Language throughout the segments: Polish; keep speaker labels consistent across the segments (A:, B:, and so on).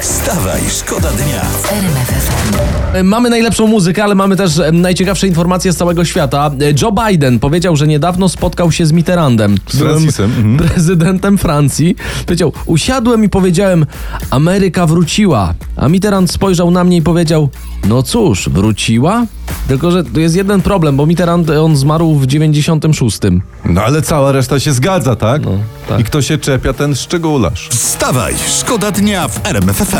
A: Wstawaj, szkoda dnia.
B: E, Mamy najlepszą muzykę, ale mamy też em, najciekawsze informacje z całego świata. E, Joe Biden powiedział, że niedawno spotkał się z Mitterrandem, byłym
C: Francisem, mhm.
B: prezydentem Francji. Powiedział, usiadłem i powiedziałem, Ameryka wróciła. A Mitterrand spojrzał na mnie i powiedział, no cóż, wróciła? Tylko, że tu jest jeden problem, bo Mitterrand, e, on zmarł w 96.
C: No ale cała reszta się zgadza, tak?
B: tak.
C: I kto się czepia, ten szczególasz.
A: Wstawaj, szkoda dnia w RMFFM.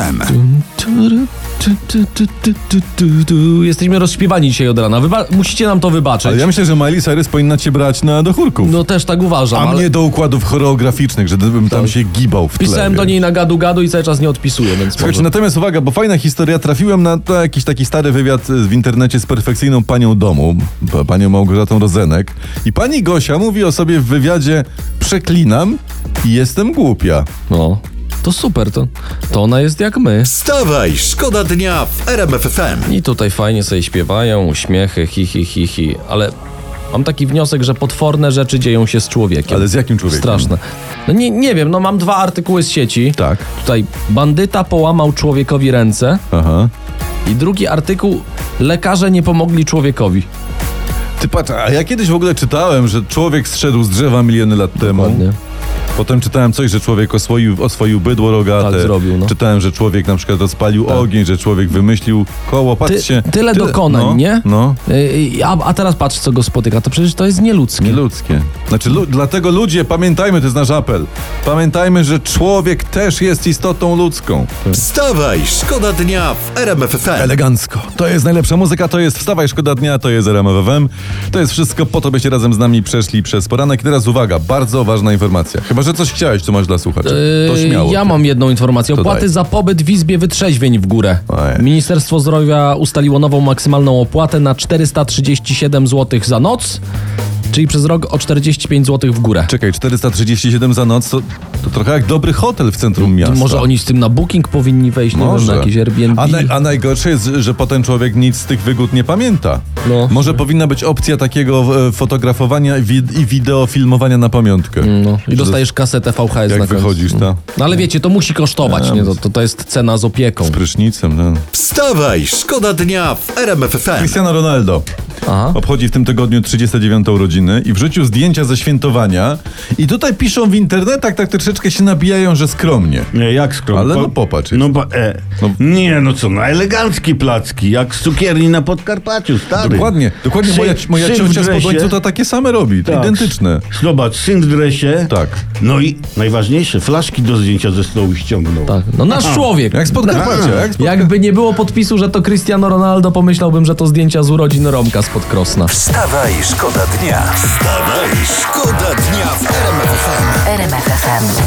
B: Jesteśmy rozśpiewani dzisiaj od rana. Wyba- musicie nam to wybaczyć.
C: Ale ja myślę, że Miley Cyrus powinna cię brać na do chórków.
B: No też tak uważam,
C: A
B: ale... Tak.
C: mnie do układów choreograficznych, że gdybym tam się gibał w tle.
B: Pisałem do
C: wiesz.
B: niej na gadu gadu i cały czas nie odpisuję, więc
C: Słuchajcie,
B: może...
C: natomiast uwaga, bo fajna historia. Trafiłem na to jakiś taki stary wywiad y, w internecie z perfekcyjną panią domu, p- panią Małgorzatą Rozenek. I pani Gosia mówi o sobie w wywiadzie: Przeklinam i jestem głupia.
B: No, to super, to, to ona jest jak my.
A: Wstawaj, szkoda dnia w RMFFM.
B: I tutaj fajnie sobie śpiewają, uśmiechy, hi, hi, hi, hi. Ale mam taki wniosek, że potworne rzeczy dzieją się z człowiekiem.
C: Ale z jakim człowiekiem?
B: Straszne. No nie, nie wiem, no mam dwa artykuły z sieci.
C: Tak.
B: Tutaj bandyta połamał człowiekowi ręce
C: Aha.
B: i drugi artykuł lekarze nie pomogli człowiekowi.
C: Ty patrz, a ja kiedyś w ogóle czytałem, że człowiek zszedł z drzewa miliony lat temu.
B: Ładnie.
C: Potem czytałem coś, że człowiek oswoił, oswoił bydło rogate.
B: Tak zrobił, no. Tak.
C: Czytałem, że człowiek na przykład rozpalił ogień, że człowiek wymyślił koło. Patrzcie.
B: tyle dokonań,
C: no,
B: nie?
C: No.
B: Yy, A, a teraz patrz, co go spotyka. To przecież to jest nieludzkie.
C: Nieludzkie. Znaczy, lu- dlatego ludzie, pamiętajmy, to jest nasz apel. Pamiętajmy, że człowiek też jest istotą ludzką.
B: Tak.
A: Wstawaj, szkoda dnia w RMFFM.
C: Elegancko. To jest najlepsza muzyka, to jest Wstawaj Szkoda Dnia, to jest RMWM. To jest wszystko po to, byście razem z nami przeszli przez poranek. I teraz uwaga, bardzo ważna informacja. Chyba, że coś chciałeś, co masz dla słuchaczy. To
B: Yy,
C: śmiało.
B: Ja mam jedną informację. Opłaty
C: daj.
B: za pobyt w izbie wytrzeźwień w górę.
C: Ojej.
B: Ministerstwo Zdrowia ustaliło nową maksymalną opłatę na 437 zł za noc, czyli przez rok o 45 zł w górę.
C: Czekaj, 437 za noc to, to trochę jak dobry hotel w centrum miasta.
B: Może oni z tym na booking powinni wejść, nie wiem, na jakieś Airbnb.
C: A, naj, a najgorsze jest, że potem człowiek nic z tych wygód nie pamięta.
B: No.
C: Może powinna być opcja takiego e, fotografowania i, wi- i wideofilmowania na pamiątkę.
B: No, I dostajesz kasetę VHS na
C: Jak
B: końcu.
C: wychodzisz, ta?
B: No ale wiecie, to musi kosztować, nie? To, to, to jest cena z opieką.
C: Prysznicem. No.
A: Wstawaj, szkoda dnia w RMFFM.
C: Cristiano Ronaldo
B: Aha.
C: obchodzi w tym tygodniu 39 urodziny i wrzucił zdjęcia ze świętowania. I tutaj piszą w internetach, tak troszeczkę się nabijają, że skromnie.
D: Nie, E, jak skromnie?
C: Ale no popatrz.
D: No, bo, e, Nie, no co, no elegancki placki, jak z cukierni na Podkarpaciu, stary.
C: Dokładnie, dokładnie
D: Syn-
C: moja, moja
D: syn w
C: ciocia z
D: dresie.
C: Podońcu to takie same robi, to
D: Tak.
C: identyczne.
D: Zobacz, syn w dresie.
C: Tak.
D: No i najważniejsze, flaszki do zdjęcia ze stołu ściągnął.
B: Tak. No nasz człowiek.
C: Jak z Podkarpacia, jak z
B: Jakby nie było podpisu, że to Cristiano Ronaldo, pomyślałbym, że to zdjęcia z urodzin Romka spod Krosna.
A: Wstawaj, szkoda dnia. Wstawaj, szkoda dnia w RMFFM.
E: RMFFM.